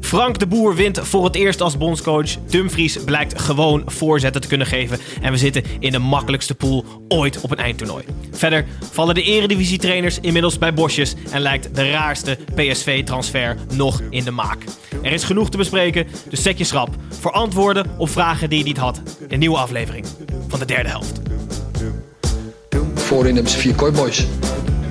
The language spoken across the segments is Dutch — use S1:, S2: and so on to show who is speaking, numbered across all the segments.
S1: Frank de Boer wint voor het eerst als bondscoach. Dumfries blijkt gewoon voorzetten te kunnen geven. En we zitten in de makkelijkste pool ooit op een eindtoernooi. Verder vallen de eredivisietrainers inmiddels bij bosjes. En lijkt de raarste PSV-transfer nog in de maak. Er is genoeg te bespreken, dus zet je schrap. Voor antwoorden op vragen die je niet had. Een nieuwe aflevering van de derde helft.
S2: Voorin hebben ze vier kooiboys.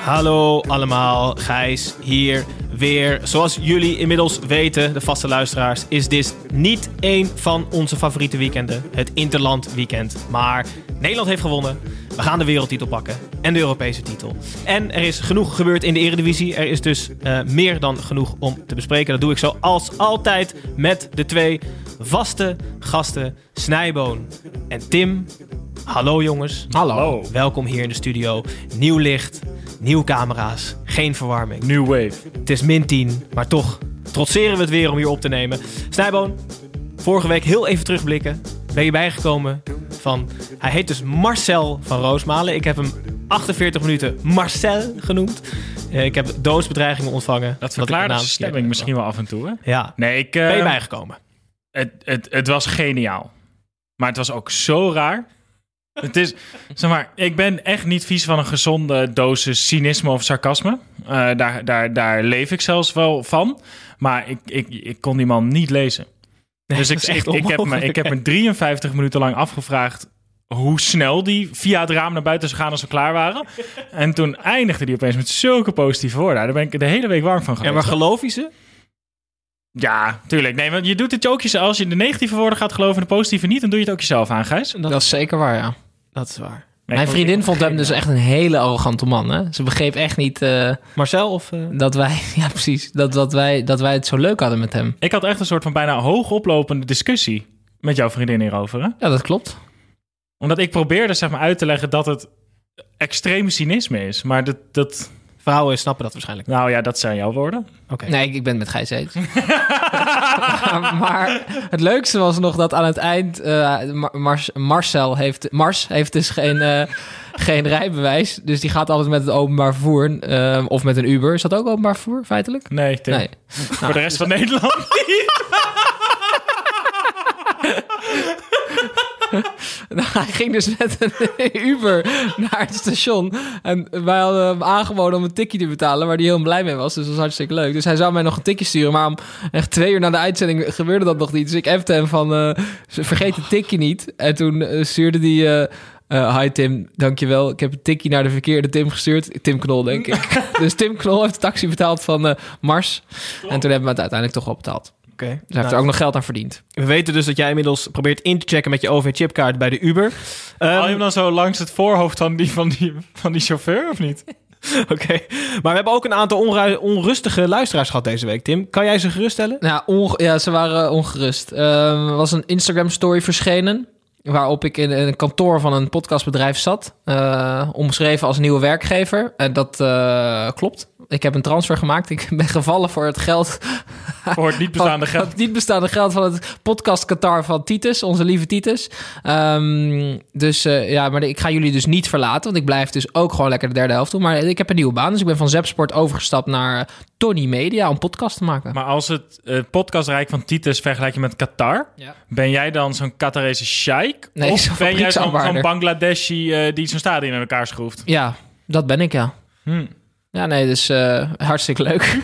S1: Hallo allemaal, Gijs hier weer. Zoals jullie inmiddels weten, de vaste luisteraars, is dit niet één van onze favoriete weekenden. Het Interland Weekend. Maar Nederland heeft gewonnen. We gaan de wereldtitel pakken en de Europese titel. En er is genoeg gebeurd in de Eredivisie. Er is dus eh, meer dan genoeg om te bespreken. Dat doe ik zoals altijd met de twee vaste gasten, Snijboon en Tim. Hallo jongens.
S3: Hallo.
S1: Welkom hier in de studio. Nieuw licht, nieuwe camera's, geen verwarming.
S4: New Wave.
S1: Het is min 10, maar toch trotseren we het weer om hier op te nemen. Snijboon, vorige week heel even terugblikken. Ben je bijgekomen van... Hij heet dus Marcel van Roosmalen. Ik heb hem 48 minuten Marcel genoemd. Eh, Ik heb doodsbedreigingen ontvangen. omdat
S4: Dat
S1: ik mijn
S4: verklaart de
S1: naam verkeerd
S4: stemming
S1: heb
S4: misschien wel af en toe, hè?
S1: Ja.
S4: Nee, ik... eh,
S1: Ben je bijgekomen?
S4: het, het, het was geniaal. Maar het was ook zo raar. Het is, zeg maar, ik ben echt niet vies van een gezonde dosis cynisme of sarcasme. Eh, daar, daar, daar leef ik zelfs wel van. Maar ik, ik, ik kon die man niet lezen. dus ik,
S1: dat is echt
S4: ik, ik, heb me,
S1: onmogelijk,
S4: ik heb me 53 minuten lang afgevraagd hoe snel die via het raam naar buiten zou gaan als we klaar waren. En toen eindigde die opeens met zulke positieve woorden. Daar ben ik de hele week warm van geweest.
S1: Ja, maar geloof je ze?
S4: Ja, tuurlijk. Nee, want je doet het ook jezelf. Als je de negatieve woorden gaat geloven en de positieve niet, dan doe je het ook jezelf aan, Gijs. Nee,
S3: Dat is zeker waar, ja.
S1: Dat is waar.
S3: Mijn
S4: ik-
S3: vriendin vond hem dus echt een hele arrogante man. Hè? Ze begreep echt niet eh,
S1: Marcel of... eh,
S3: dat, wij, ja, precies, dat, dat, wij, dat wij het zo leuk hadden met hem.
S4: Ik had echt een soort van bijna hoogoplopende discussie met jouw vriendin hierover. Hè?
S3: Ja, dat klopt.
S4: Omdat ik probeerde zeg maar, uit te leggen dat het extreem cynisme is. Maar dat, dat,
S1: Vrouwen snappen dat waarschijnlijk.
S4: nou ja, dat zijn jouw woorden.
S3: Nee, ik, ik ben het met Gijs eens. maar het leukste was nog dat aan het eind eh, Mar- Mars- Marcel heeft, Mars heeft dus geen, eh, geen rijbewijs. Dus die gaat altijd met het openbaar vervoer eh, of met een Uber. Is dat ook openbaar vervoer feitelijk?
S4: Nee, Tim.
S3: Nee.
S4: Voor de rest van Nederland.
S3: Nou, hij ging dus met een Uber naar het station. En wij hadden hem aangeboden om een tikje te betalen, waar hij heel blij mee was. Dus dat was hartstikke leuk. Dus hij zou mij nog een tikje sturen. Maar om echt twee uur na de uitzending gebeurde dat nog niet. Dus ik appte hem van, eh, vergeet het tikje niet. En toen eh, stuurde hij... eh, eh, hi Tim, dankjewel. Ik heb een tikje naar de verkeerde Tim gestuurd. Tim Knol, denk ik. dus Tim Knol heeft de taxi betaald van eh, Mars. En toen hebben we het uiteindelijk toch wel betaald. Dus
S1: Oké. Nou,
S3: hij heeft er ook nog geld aan verdiend.
S1: We weten dus dat jij inmiddels probeert in te checken met je OV-chipkaart bij de Uber.
S4: Haal je
S1: Ehm,
S4: hem dan zo langs het voorhoofd van die, van die, van die chauffeur of niet?
S1: Oké, maar we hebben ook een aantal onru- onrustige luisteraars gehad deze week, Tim. Kan jij ze geruststellen?
S3: Nou, onge- ja, ze waren eh, ongerust. Ehm, er was een Instagram-story verschenen. Waarop ik in een kantoor van een podcastbedrijf zat. eh, omschreven als nieuwe werkgever. En dat eh, klopt. Ik heb een transfer gemaakt. Ik ben gevallen voor het geld.
S4: Voor het niet bestaande
S3: van,
S4: geld.
S3: Het niet bestaande geld van het podcast Qatar van Titus. Onze lieve Titus. Ehm, dus eh, ja, maar ik ga jullie dus niet verlaten. Want ik blijf dus ook gewoon lekker de derde helft doen. Maar ik heb een nieuwe baan. Dus ik ben van Zepsport overgestapt naar eh, Tony Media. Om podcast te maken.
S4: Maar als het eh, podcastrijk van Titus vergelijk je met Qatar,
S3: Ja.
S4: ben jij dan zo'n Qatarese sheik?
S3: Nee, zo'n
S4: of ben jij zo'n
S3: fabrieksarbeider.
S4: zo'n Bangladeshi eh, die zo'n stadion in elkaar schroeft?
S3: Ja, dat ben ik, ja.
S4: Hmm.
S3: Ja,
S4: Ja, nee, dus eh, hartstikke leuk.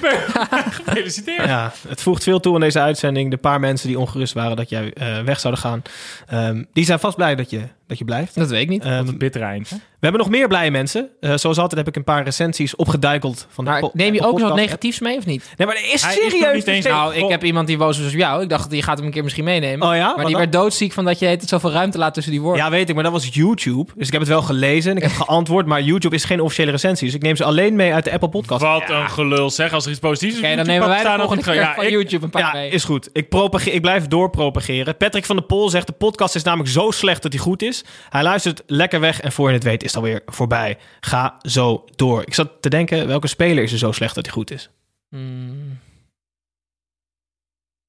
S3: Gefeliciteerd.
S1: Ja, het voegt veel toe aan deze uitzending. De paar mensen die ongerust waren dat jij eh, weg zouden gaan, ehm, die zijn vast blij dat je, dat je blijft.
S4: Dat weet ik niet.
S1: Ehm,
S3: Wat een bitter eind. hè?
S1: we hebben nog meer blije mensen. Eh, zoals altijd heb ik een paar recensies opgeduikeld van de
S4: Maar
S1: po-
S4: neem je
S1: Apple
S4: ook nog wat
S1: podcast.
S4: negatiefs mee of niet?
S1: Nee, maar er is
S3: Hij is nog
S1: serieus
S3: niet eens-
S1: steeds-
S4: Nou, ik heb iemand die woos was op jou. Ik dacht, je gaat hem een keer misschien meenemen.
S1: Oh ja? Wat
S4: Maar die
S1: dan?
S4: werd doodziek van dat je het zoveel ruimte laat tussen die woorden.
S1: Ja, weet ik, maar dat was YouTube. Dus ik heb het wel gelezen en ik heb geantwoord. Maar YouTube is geen officiële recensie. Dus ik neem ze alleen mee uit de Apple Podcast.
S3: Wat een gelul zeg. Als er iets positiefs is,
S4: Oké, dan
S3: moet je
S4: nemen wij
S3: pakken
S4: de
S3: staan op
S4: volgende
S3: het
S4: keer
S3: ge-
S4: van
S3: ik-
S4: YouTube een paar
S1: Ja,
S4: mee.
S1: is goed. Ik, propage- ik blijf doorpropageren. Patrick van der Pol zegt: de podcast is namelijk zo slecht dat hij goed is. Hij luistert lekker weg en voor je het weet is het alweer voorbij. Ga zo door. Ik zat te denken: welke speler is er zo slecht dat hij goed is?
S4: Hmm.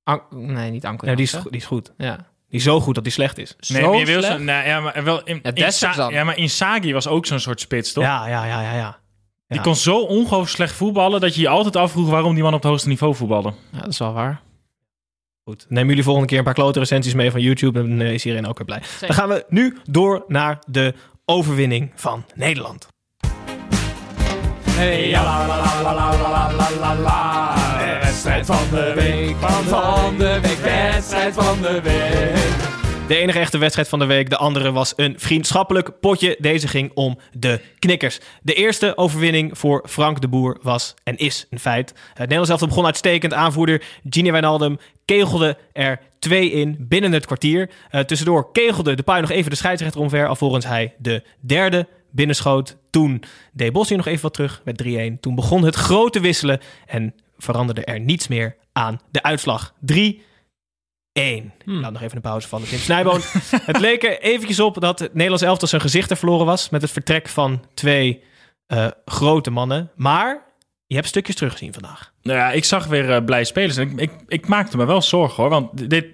S4: An- nee, niet Anker.
S1: Nou, die is,
S4: Jansen.
S1: die is goed.
S4: Ja.
S1: Die is zo goed dat hij slecht is.
S3: Nee,
S4: Zo
S3: maar je wil
S4: slecht.
S3: zo- nee, ja, maar wel in,
S4: Ja,
S3: in
S4: Dessers
S3: Sa-
S4: dan.
S3: ja, maar Inzaghi was ook zo'n soort spits, toch?
S1: Ja, ja, ja, ja, ja.
S3: Die
S1: Ja.
S3: kon zo ongelooflijk slecht voetballen dat je je altijd afvroeg waarom die man op het hoogste niveau voetbalde.
S4: ja, dat is wel waar.
S1: Goed. Neem jullie volgende keer een paar klote recensies mee van YouTube. Dan eh, is iedereen ook weer blij. Dan gaan we nu door naar de overwinning van Nederland.
S4: Hey, ja, la, la, la, la, la, la, la, la, la. Wedstrijd van de week, van, van de week, wedstrijd van de week.
S1: De enige echte wedstrijd van de week, de andere was een vriendschappelijk potje. Deze ging om de knikkers. De eerste overwinning voor Frank de Boer was en is een feit. Het Nederlands elftal begon uitstekend. Aanvoerder Gini Wijnaldum kegelde er twee in binnen het kwartier. Eh, tussendoor kegelde de paai nog even de scheidsrechter omver, alvorens hij de derde binnenschoot. Toen deed Bosnië nog even wat terug met 3-1. Toen begon het grote wisselen en veranderde er niets meer aan de uitslag. 3 1. Laat Nou, nog even een pauze vallen. Tim Snijboon. het leek er eventjes op dat het Nederlands elftal zijn gezichten verloren was. met het vertrek van twee eh, grote mannen. Maar je hebt stukjes teruggezien vandaag.
S3: Nou ja, ik zag weer eh, blij spelers. En ik, ik, ik maakte me wel zorgen hoor. Want dit.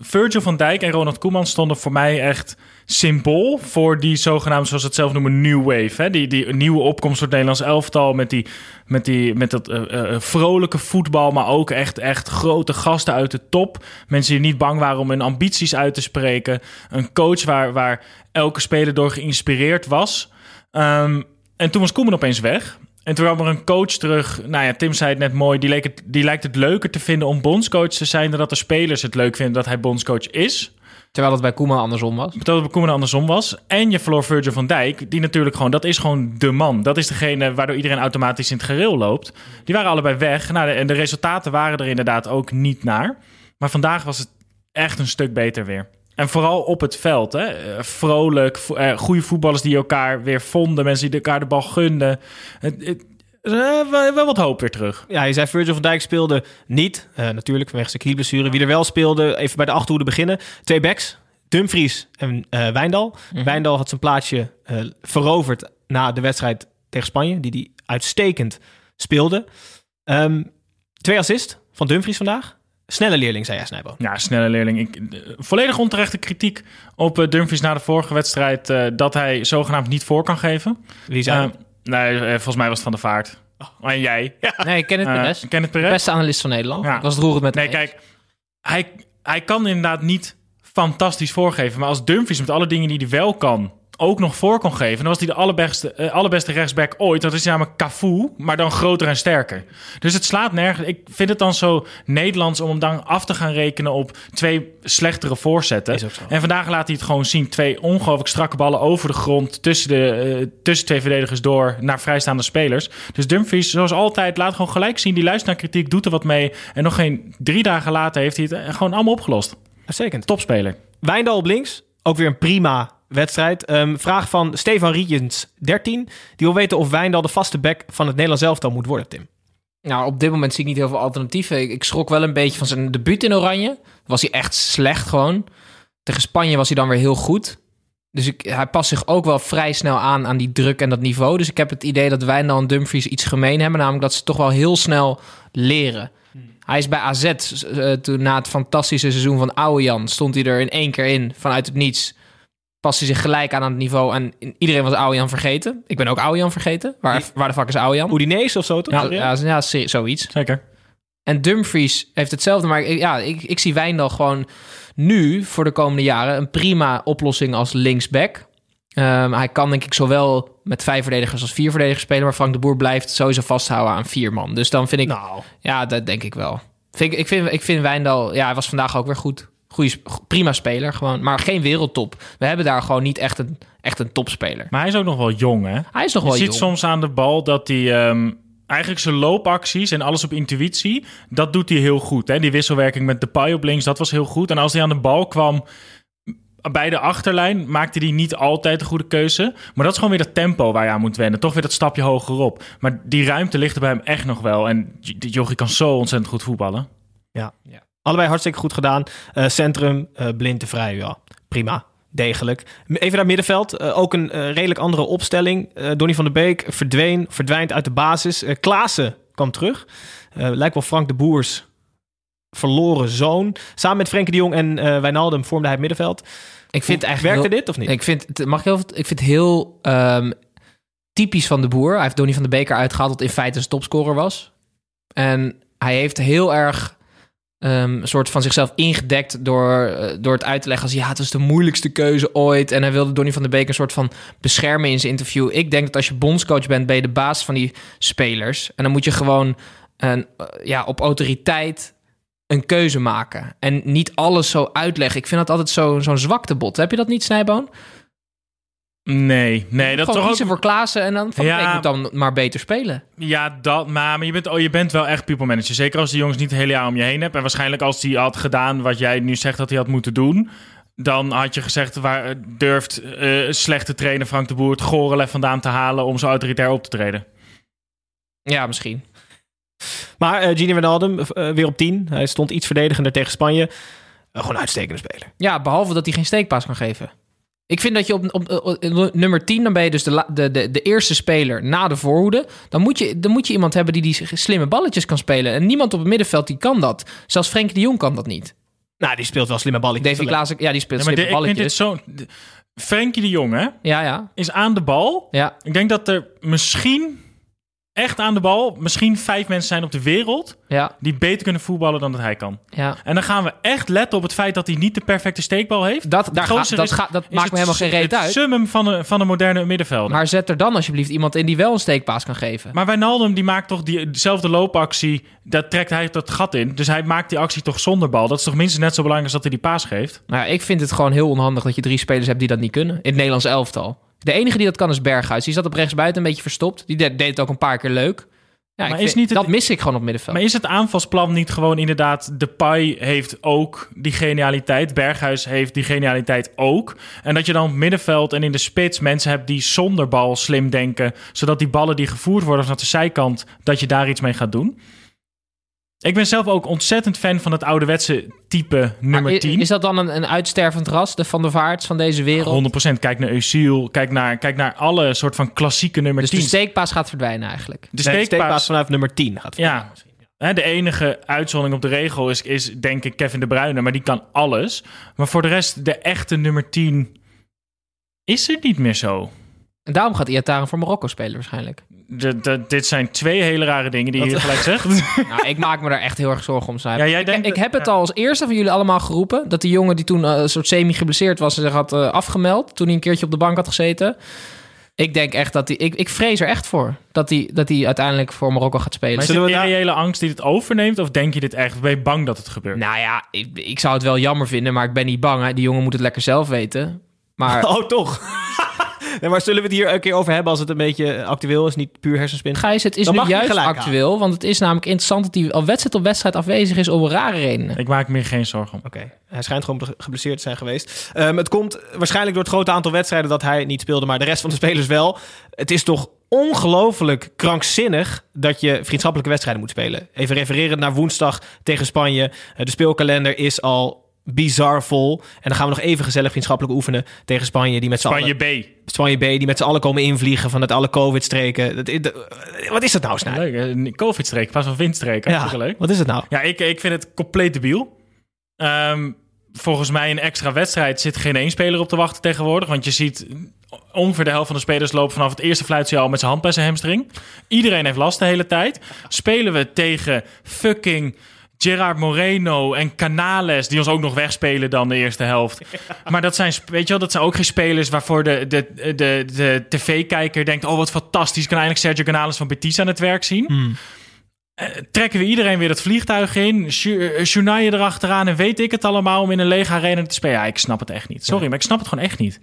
S3: Virgil van Dijk en Ronald Koeman stonden voor mij echt symbool voor die zogenaamde, zoals ze het zelf noemen, new wave. Hè? Die, die nieuwe opkomst door het Nederlands elftal met, die, met, die, met dat eh, eh, vrolijke voetbal, maar ook echt, echt grote gasten uit de top. Mensen die niet bang waren om hun ambities uit te spreken. Een coach waar, waar elke speler door geïnspireerd was. Ehm, en toen was Koeman opeens weg. En toen kwam er een coach terug. Nou ja, Tim zei het net mooi. Die, leek het, die lijkt het leuker te vinden om bondscoach te zijn... dan dat de spelers het leuk vinden dat hij bondscoach is.
S4: Terwijl dat bij Koeman andersom was.
S3: Terwijl het bij Koeman andersom was. En je verloor Virgil van Dijk. Die natuurlijk gewoon... Dat is gewoon de man. Dat is degene waardoor iedereen automatisch in het gereel loopt. Die waren allebei weg. Nou, de- en de resultaten waren er inderdaad ook niet naar. Maar vandaag was het echt een stuk beter weer. En vooral op het veld. Hè? Eh, Vrolijk, vo- eh, goede voetballers die elkaar weer vonden. Mensen die elkaar de bal gunden. Het, het, eh, wel wel wat hoop weer terug.
S1: Ja, je zei Virgil van Dijk speelde niet. eh, natuurlijk vanwege zijn knieblessure. Wie er wel speelde, even bij de achterhoede beginnen. Twee backs, Dumfries en eh, Wijndal.
S3: Mhm.
S1: Wijndal had zijn plaatsje eh, veroverd na de wedstrijd tegen Spanje. Die die uitstekend speelde. Ehm, twee assist van Dumfries vandaag. Snelle leerling, zei jij, Snijboon.
S3: Ja, snelle leerling. Ik, eh, volledig onterechte kritiek op eh, Dumfries na de vorige wedstrijd. eh, dat hij zogenaamd niet voor kan geven.
S1: Wie zijn
S3: Eh, nee, eh, volgens mij was het van de vaart. En jij? Ja.
S4: Nee, ik ken het Perez.
S3: Kenneth Perez?
S4: Beste analist van Nederland.
S3: Ja.
S4: Ik was het roerend met
S3: Nee,
S4: hem eens.
S3: kijk, hij, hij kan inderdaad niet fantastisch voorgeven. Maar als Dumfries met alle dingen die hij wel kan ook nog voor kon geven... dan was hij de allerbeste, eh, allerbeste rechtsback ooit. Dat is namelijk Cafu, maar dan groter en sterker. Dus het slaat nergens. Ik vind het dan zo Nederlands om hem dan af te gaan rekenen... op twee slechtere voorzetten.
S1: Is ook zo.
S3: En vandaag laat hij het gewoon zien. Twee ongelooflijk strakke ballen over de grond... tussen, de, eh, tussen twee verdedigers door naar vrijstaande spelers. Dus Dumfries, zoals altijd, laat gewoon gelijk zien. Die luistert naar kritiek, doet er wat mee. En nog geen drie dagen later heeft hij het eh, gewoon allemaal opgelost.
S1: uitstekend.
S3: Topspeler.
S1: Wijndal op links. Ook weer een prima wedstrijd. Ehm, vraag van Stefan Rietjens, 13. Die wil weten of Wijndal de vaste back van het Nederlands elftal moet worden, Tim.
S4: Nou, op dit moment zie ik niet heel veel alternatieven. Ik, ik schrok wel een beetje van zijn debuut in Oranje. Was hij echt slecht gewoon. Tegen Spanje was hij dan weer heel goed. Dus ik, hij past zich ook wel vrij snel aan aan die druk en dat niveau. Dus ik heb het idee dat Wijndal en Dumfries iets gemeen hebben. Namelijk dat ze toch wel heel snel leren. Hij is bij AZ, eh, toen, na het fantastische seizoen van Ouwejan... stond hij er in één keer in, vanuit het niets. Past hij zich gelijk aan aan het niveau. En iedereen was Ouwejan vergeten. Ik ben ook Ouwejan vergeten. Waar, waar de fuck is Ouwejan?
S1: Oedinees of zo, toch?
S4: Ja, ja, ja, serie- zoiets.
S3: Zeker.
S4: En Dumfries heeft hetzelfde. Maar ik- ja, ik, ik zie Wijndal gewoon nu voor de komende jaren een prima oplossing als linksback. Ehm, hij kan denk ik zowel met vijf verdedigers als vier verdedigers spelen. Maar Frank de Boer blijft sowieso vasthouden aan vier man. Dus dan vind ik...
S1: Nou,
S4: Ja, dat denk ik wel. Vind ik, ik, vind, ik vind Wijndal... Ja, hij was vandaag ook weer goed. Goeie, sp- go- prima speler gewoon. Maar geen wereldtop. We hebben daar gewoon niet echt een, echt een topspeler.
S3: Maar hij is ook nog wel jong, hè?
S4: Hij is nog
S3: Je
S4: wel
S3: ziet
S4: jong.
S3: soms aan de bal dat hij... ehm, eigenlijk zijn loopacties en alles op intuïtie... dat doet hij heel goed. Hè? Die wisselwerking met Depay op links, dat was heel goed. En als hij aan de bal kwam... Bij de achterlijn maakte hij niet altijd de goede keuze. Maar dat is gewoon weer dat tempo waar je aan moet wennen. Toch weer dat stapje hogerop. Maar die ruimte ligt er bij hem echt nog wel. En J- Jochie kan zo ontzettend goed voetballen.
S1: Ja. Allebei hartstikke goed gedaan. Eh, centrum, eh blind te vrij, ja. Prima. Degelijk. M- Even naar middenveld. Eh, ook een eh, redelijk andere opstelling. Eh Donny van der Beek verdween, verdwijnt uit de basis. Eh Klaassen kwam terug. Eh, lijkt wel Frank de Boers verloren zoon. Samen met Frenkie de Jong en eh Wijnaldum vormde hij het middenveld.
S4: Ik vind
S1: Hoe-
S4: eigenlijk...
S1: Werkte
S4: heel-
S1: dit of niet?
S4: Ik vind, het- mag ik, heel, ik vind het heel ehm, typisch van de boer. Hij heeft Donny van de Beker uitgehaald, dat in feite zijn topscorer was. En hij heeft heel erg ehm, een soort van zichzelf ingedekt door, eh, door het uit te leggen als ja, het was de moeilijkste keuze ooit. En hij wilde Donny van de Beek een soort van beschermen in zijn interview. Ik denk dat als je bondscoach bent, ben je de baas van die spelers. En dan moet je gewoon een, eh, ja, op autoriteit een keuze maken. En niet alles zo uitleggen. Ik vind dat altijd zo- zo'n zwaktebot. Heb je dat niet, Snijboon?
S3: Nee, nee dat is
S4: Gewoon
S3: toch ook
S4: kiezen voor Klaassen en dan van
S3: Ja.
S4: ik moet dan maar beter spelen.
S3: Ja, dat, maar, maar je, bent, oh, je bent wel echt people manager. Zeker als die jongens niet het hele jaar om je heen hebt. En waarschijnlijk als die had gedaan wat jij nu zegt dat hij had moeten doen. Dan had je gezegd, waar durft eh, slechte trainer Frank de Boer het gorelef vandaan te halen om zo autoritair op te treden?
S4: Ja, misschien.
S1: Maar eh Gini Wijnaldum eh, weer op 10. Hij stond iets verdedigender tegen Spanje. Eh, gewoon een uitstekende speler.
S4: Ja, behalve dat hij geen steekpaas kan geven. Ik vind dat je op, op, op- op nummer 10, dan ben je dus de, la- de, de, de eerste speler na de voorhoede. Dan moet, je, dan moet je iemand hebben die die slimme balletjes kan spelen. En niemand op het middenveld die kan dat. Zelfs Frenkie de Jong kan dat niet.
S1: Nou, die speelt wel slimme balletjes.
S4: Davy Klaassen, ja, die speelt
S3: Ja, maar
S4: slimme
S3: dit- ik vind dit
S4: balletjes.
S3: zo... Frenkie de Jong, hè,
S4: Ja, ja,
S3: is aan de bal.
S4: ja.
S3: Ik denk dat er misschien, echt aan de bal, misschien vijf mensen zijn op de wereld...
S4: Ja,
S3: die beter kunnen voetballen dan dat hij kan.
S4: ja.
S3: En dan gaan we echt letten op het feit dat hij niet de perfecte steekbal heeft.
S4: Dat, daar ga-
S3: Gozer
S4: dat,
S3: is-
S4: ga- dat
S3: is
S4: maakt
S3: het
S4: me helemaal geen
S3: su-
S4: reet uit.
S3: Het summum van een, van een moderne middenvelder. Maar,
S4: Maar zet er dan alsjeblieft iemand in die wel een steekpaas kan geven.
S3: Wijnaldum die maakt toch die, dezelfde loopactie. Daar trekt hij dat gat in. Dus hij maakt die actie toch zonder bal. Dat is toch minstens net zo belangrijk als dat hij die paas geeft.
S4: Nou, ja, ik vind het gewoon heel onhandig dat je drie spelers hebt die dat niet kunnen. In het Nederlands elftal. De enige die dat kan is Berghuis. Die zat op rechtsbuiten een beetje verstopt. Die de- deed het ook een paar keer leuk. Ja, ik
S3: is
S4: vind-
S3: niet het-
S4: Dat mis ik gewoon op middenveld.
S3: Maar is het aanvalsplan niet gewoon inderdaad... Depay heeft ook die genialiteit. Berghuis heeft die genialiteit ook. En dat je dan op het middenveld en in de spits mensen hebt... die zonder bal slim denken. Zodat die ballen die gevoerd worden vanaf de zijkant... dat je daar iets mee gaat doen. Ik ben zelf ook ontzettend fan van het ouderwetse type
S4: Maar
S3: nummer
S4: i-
S3: 10.
S4: Is dat dan een, een uitstervend ras, de Van der Vaarts van deze wereld?
S3: 100%. Kijk naar Eusiel. Kijk naar, kijk naar alle soort van klassieke nummer
S4: Dus de
S3: 10.
S4: steekpaas gaat verdwijnen eigenlijk.
S3: de
S1: Nee, de steekpaas
S3: steekpaas
S1: vanaf nummer 10 gaat
S3: Ja. Hè, De enige uitzondering op de regel is, is denk ik Kevin de Bruyne, maar die kan alles. Maar voor de rest, de echte nummer 10 is er niet meer zo.
S4: En daarom gaat Iataren voor Marokko spelen waarschijnlijk.
S3: De, de- dit zijn twee hele rare dingen die je hier gelijk zegt.
S4: Nou, ik maak me daar echt heel erg zorgen om. Snijboon.
S3: Ja, jij
S4: ik,
S3: denkt-
S4: ik heb het al als eerste van jullie allemaal geroepen. Dat die jongen die toen eh, een soort semi-geblesseerd was en zich had eh, afgemeld. Toen hij een keertje op de bank had gezeten. Ik denk echt dat hij. Ik, ik vrees er echt voor. Dat hij dat die uiteindelijk voor Marokko gaat spelen.
S3: Maar is het
S1: Zullen
S3: een
S1: we daar-
S3: reële angst die dit overneemt? Of denk je dit echt? Ben je bang dat het gebeurt?
S4: Nou ja, ik, ik zou het wel jammer vinden. Maar ik ben niet bang. Hè. Die jongen moet het lekker zelf weten. Maar
S1: Oh, toch? nee, maar zullen we het hier een keer over hebben als het een beetje actueel is? Niet puur hersenspin.
S4: Gijs, het is
S1: Dan
S4: nu
S1: mag je
S4: juist
S1: gelijk
S4: actueel. Want het is namelijk interessant dat hij al wedstrijd op wedstrijd afwezig is. om rare redenen.
S3: Ik maak me hier geen zorgen om.
S1: Oké, hij schijnt gewoon ge- geblesseerd te zijn geweest. Ehm, het komt waarschijnlijk door het grote aantal wedstrijden dat hij niet speelde, maar de rest van de spelers wel. Het is toch ongelooflijk krankzinnig dat je vriendschappelijke wedstrijden moet spelen. Even refereren naar woensdag tegen Spanje. Eh, De speelkalender is al bizar vol. En dan gaan we nog even gezellig vriendschappelijk oefenen tegen Spanje. Die met z'n allen-
S3: Spanje B.
S1: Spanje B, die met z'n allen komen invliegen vanuit alle COVID-streken. Dat, dat- wat is dat nou, Snijder?
S3: Leuk. hè? Een Covid-streek, pas van windstreek. Hartstikke leuk.
S1: Wat is het nou?
S3: Ja, ik, ik vind het compleet debiel. Ehm, volgens mij een extra wedstrijd zit geen één speler op te wachten tegenwoordig. Want je ziet ongeveer de helft van de spelers lopen vanaf het eerste fluitje al met zijn hand bij zijn hamstring. Iedereen heeft last de hele tijd. Spelen we tegen fucking Gerard Moreno en Canales, die ons ook nog wegspelen dan de eerste helft. Maar dat zijn, sp- weet je wel, dat zijn ook geen spelers waarvoor de, de, de, de, tv-kijker denkt... oh, wat fantastisch, ik kan eindelijk Sergio Canales van Betis aan het werk zien. Eh, trekken we iedereen weer het vliegtuig in, Shu- eh, Shunai erachteraan... en weet ik het allemaal om in een lege arena te spelen. Ja, ik snap het echt niet. Sorry, maar ik snap het gewoon echt niet.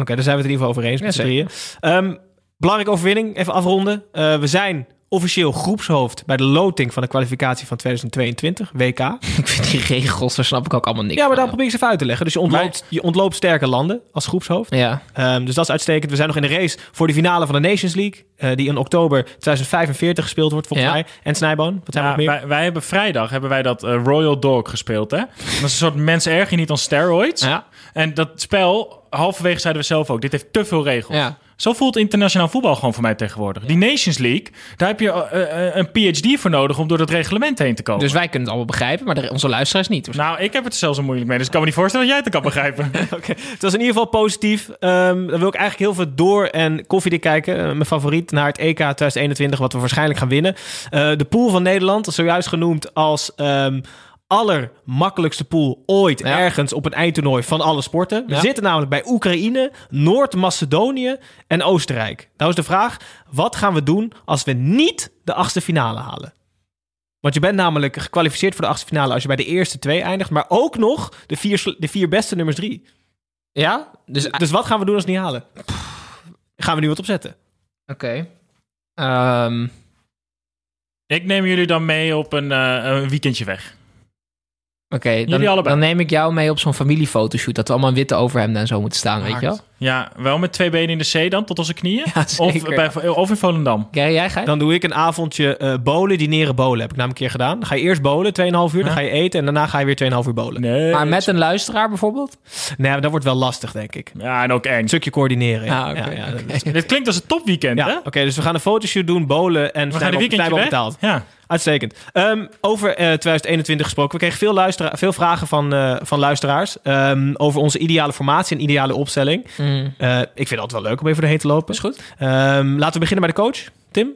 S1: Oké, daar zijn we het in ieder geval over eens met z'n drieën. Ehm, belangrijke overwinning, even afronden. Eh, we zijn officieel groepshoofd bij de loting van de kwalificatie van 2022, WK.
S4: Ik vind die regels, daar snap ik ook allemaal niks
S1: Ja, maar daar
S4: van,
S1: probeer ik ze even uit te leggen. Dus je ontloopt, je ontloopt sterke landen als groepshoofd.
S4: joh. Ja,
S1: Ehm, dus dat is uitstekend. We zijn nog in de race voor de finale van de Nations League, eh, die in oktober 2045 gespeeld wordt volgens
S4: Ja.
S1: mij. En Snijboon, wat zijn we nog
S3: Ja,
S1: meer?
S3: wij, wij hebben vrijdag hebben wij dat eh, Royal Dog gespeeld, hè? Dat is een soort mens erg je niet aan steroids.
S4: Ja.
S3: En dat spel, halverwege zeiden we zelf ook, dit heeft te veel regels.
S4: Ja.
S3: Zo voelt internationaal voetbal gewoon voor mij tegenwoordig. Die Nations League, daar heb je eh, eh, een PhD voor nodig om door dat reglement heen te komen.
S4: dus wij kunnen het allemaal begrijpen, maar de- onze luisteraars niet.
S3: Nou, ik heb het er zelfs al moeilijk mee, dus ik kan me niet voorstellen dat jij het kan begrijpen.
S1: Oké, Het was in ieder geval positief. Ehm dan wil ik eigenlijk heel veel door en koffiedik kijken. Eh, mijn favoriet naar het EK 2021, wat we waarschijnlijk gaan winnen. Eh, de pool van Nederland, dat is zojuist genoemd als ehm allermakkelijkste pool ooit
S4: Ja.
S1: ergens op een eindtoernooi van alle sporten. We
S4: Ja.
S1: zitten namelijk bij Oekraïne, Noord-Macedonië en Oostenrijk. Nou is de vraag, wat gaan we doen als we niet de achtste finale halen? Want je bent namelijk gekwalificeerd voor de achtste finale als je bij de eerste twee eindigt, maar ook nog de vier, sl- de vier beste nummers drie.
S4: ja? Dus, oké.
S1: Dus wat gaan we doen als we het niet halen? Gaan we nu wat opzetten?
S4: Ehm,
S3: ik neem jullie dan mee op een, eh, een weekendje weg.
S4: Oké,
S3: Jullie
S4: dan,
S3: allebei.
S4: dan neem ik jou mee op zo'n familiefotoshoot. Dat we allemaal in witte overhemden en zo moeten staan, weet je wel?
S3: Ja, wel met twee benen in de zee dan, tot onze knieën.
S4: Ja,
S3: of,
S4: zeker.
S3: bij, of in Volendam.
S4: Gary, jij gaat?
S1: Dan doe ik een avondje eh bolen, dineren, bolen. Heb ik namelijk een keer gedaan. Dan ga je eerst bolen, 2,5 uur. Dan ga je eten en daarna ga je weer 2,5 uur bolen. Nee,
S3: Nee.
S4: maar met een luisteraar bijvoorbeeld?
S1: maar dat wordt wel lastig, denk ik. Een
S3: Ja, en ook eng.
S1: stukje coördineren. Ja,
S4: Ah, oké,
S1: ja, ja, dat
S4: oké.
S1: is-
S3: Dit klinkt als een topweekend,
S1: Ja,
S3: hè?
S1: oké, dus we gaan een fotoshoot doen, bolen en
S3: We gaan een
S1: Snijboon-
S3: weekendje
S1: Snijboon
S3: weg.
S1: betaald.
S3: Ja.
S1: Uitstekend. Ehm, over eh, 2021 gesproken. We kregen veel, luistera- veel vragen van, eh, van luisteraars ehm, over onze ideale formatie en ideale opstelling.
S4: Mm.
S1: Eh, ik vind het altijd wel leuk om even doorheen te lopen.
S4: Is goed.
S1: Ehm, laten we beginnen bij de coach, Tim.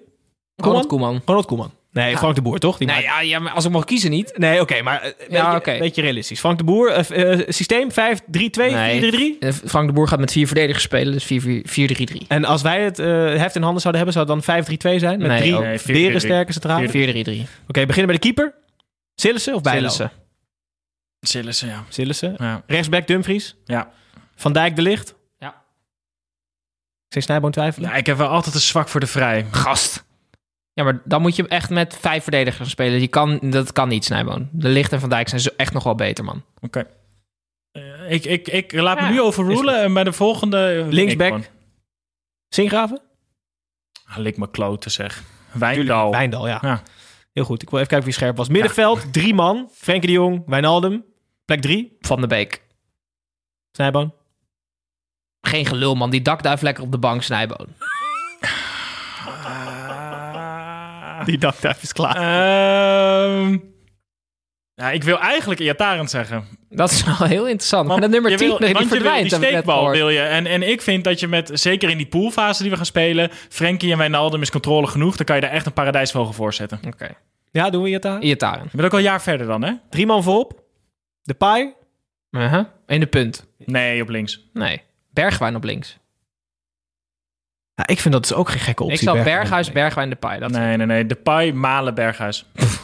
S4: Ronald Koeman.
S1: Ronald Koeman. Nee, Frank de Boer, toch? Die
S4: Nou
S1: maakt-
S4: ja, ja, maar als ik mocht kiezen niet.
S1: Nee, oké, maar een beetje,
S4: Ja, oké.
S1: beetje realistisch. Frank de Boer, eh, eh, systeem 5-3-2,
S4: Nee.
S1: 4-3-3.
S4: Eh, Frank de Boer gaat met vier verdedigers spelen, dus 4-3-3.
S1: En als wij het eh, heft in handen zouden hebben, zou het dan 5-3-2 zijn? Met
S4: Nee,
S1: drie
S4: ook.
S3: Nee, 4-3-3.
S1: beren sterke centrale.
S4: 4-3-3.
S1: Oké, beginnen bij de keeper. Sillissen of Bijlo?
S4: Sillissen.
S3: Sillissen, ja.
S1: Sillissen.
S3: ja.
S1: Rechtsback Dumfries.
S3: Ja.
S1: Van Dijk de Licht.
S4: Ja.
S1: Ik zie Snijboon twijfelen.
S3: Ja, ik heb wel altijd een zwak voor de vrij.
S4: Gast. Ja, maar dan moet je echt met vijf verdedigers gaan spelen. Die kan, dat kan niet, Snijboon. De Licht en Van Dijk zijn zo echt nog wel beter, man.
S3: Eh, ik, ik, ik laat me nu overrulen en bij de volgende... eh,
S1: Linksback.
S3: Ik gewoon-
S1: Singraven?
S3: Ah, Lik me kloten, zeg. Wijndal.
S1: Wijndal, Oh. ja.
S3: Ja.
S1: Heel goed. Ik wil even kijken wie scherp was. Middenveld, drie man. Frenkie de Jong, Wijnaldum. Plek drie.
S4: Van de Beek.
S1: Snijboon.
S4: Geen gelul, man. Die dakduif lekker op de bank, Snijboon.
S3: Ah.
S1: Die dakduif is klaar.
S3: Ehm, ja, ik wil eigenlijk Iatarend zeggen.
S4: Dat is wel heel interessant.
S3: Want
S4: maar dat nummer
S3: je
S4: 10,
S3: wil-
S4: nee, die
S3: want je wil
S4: verdwijnt.
S3: die
S4: heb ik net
S3: steekbal
S4: gehoord.
S3: wil je. En, en ik vind dat je met, zeker in die poolfase die we gaan spelen, Frenkie en Wijnaldum is controle genoeg. Dan kan je daar echt een paradijsvogel voor zetten.
S4: Oké.
S1: Ja, doen we het daar?
S4: Iataren.
S3: Je bent ook al een jaar verder dan, hè?
S1: Drie man voorop. De paai.
S4: Uh-huh. In de punt.
S3: Nee, op links.
S4: Nee. Bergwijn op links.
S1: ik vind dat is ook geen gekke optie.
S4: ik zal Berghuis, Bergwijn, de Pai. Dat...
S3: Nee, nee, nee. Depay, Malen, Berghuis.
S1: Eh,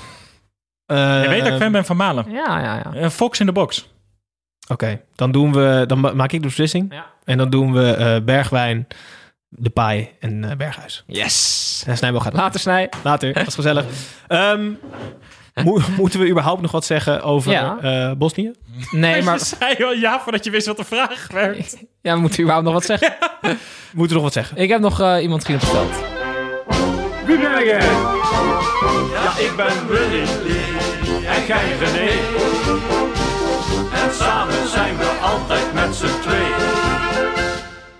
S3: Je weet dat ik fan ben van Malen.
S4: Ja, ja, ja.
S3: Een Eh, Fox in de box.
S1: Oké, dan doen we... Dan ma- maak ik de beslissing.
S4: Ja.
S1: En dan doen we eh, Bergwijn, de paai en eh, Berghuis.
S4: Yes.
S1: En Snijboon gaat
S4: Later, Snij.
S1: Later, dat is gezellig. Ehm, mo- moeten we überhaupt nog wat zeggen over
S4: Ja.
S1: eh, Bosnië?
S4: Nee,
S3: Maar... Je
S4: maar...
S3: zei al ja voordat je wist wat de vraag werd.
S4: Ja, we moeten überhaupt nog wat zeggen.
S1: Moeten we nog wat zeggen?
S4: Ik heb nog eh, iemand vriend besteld.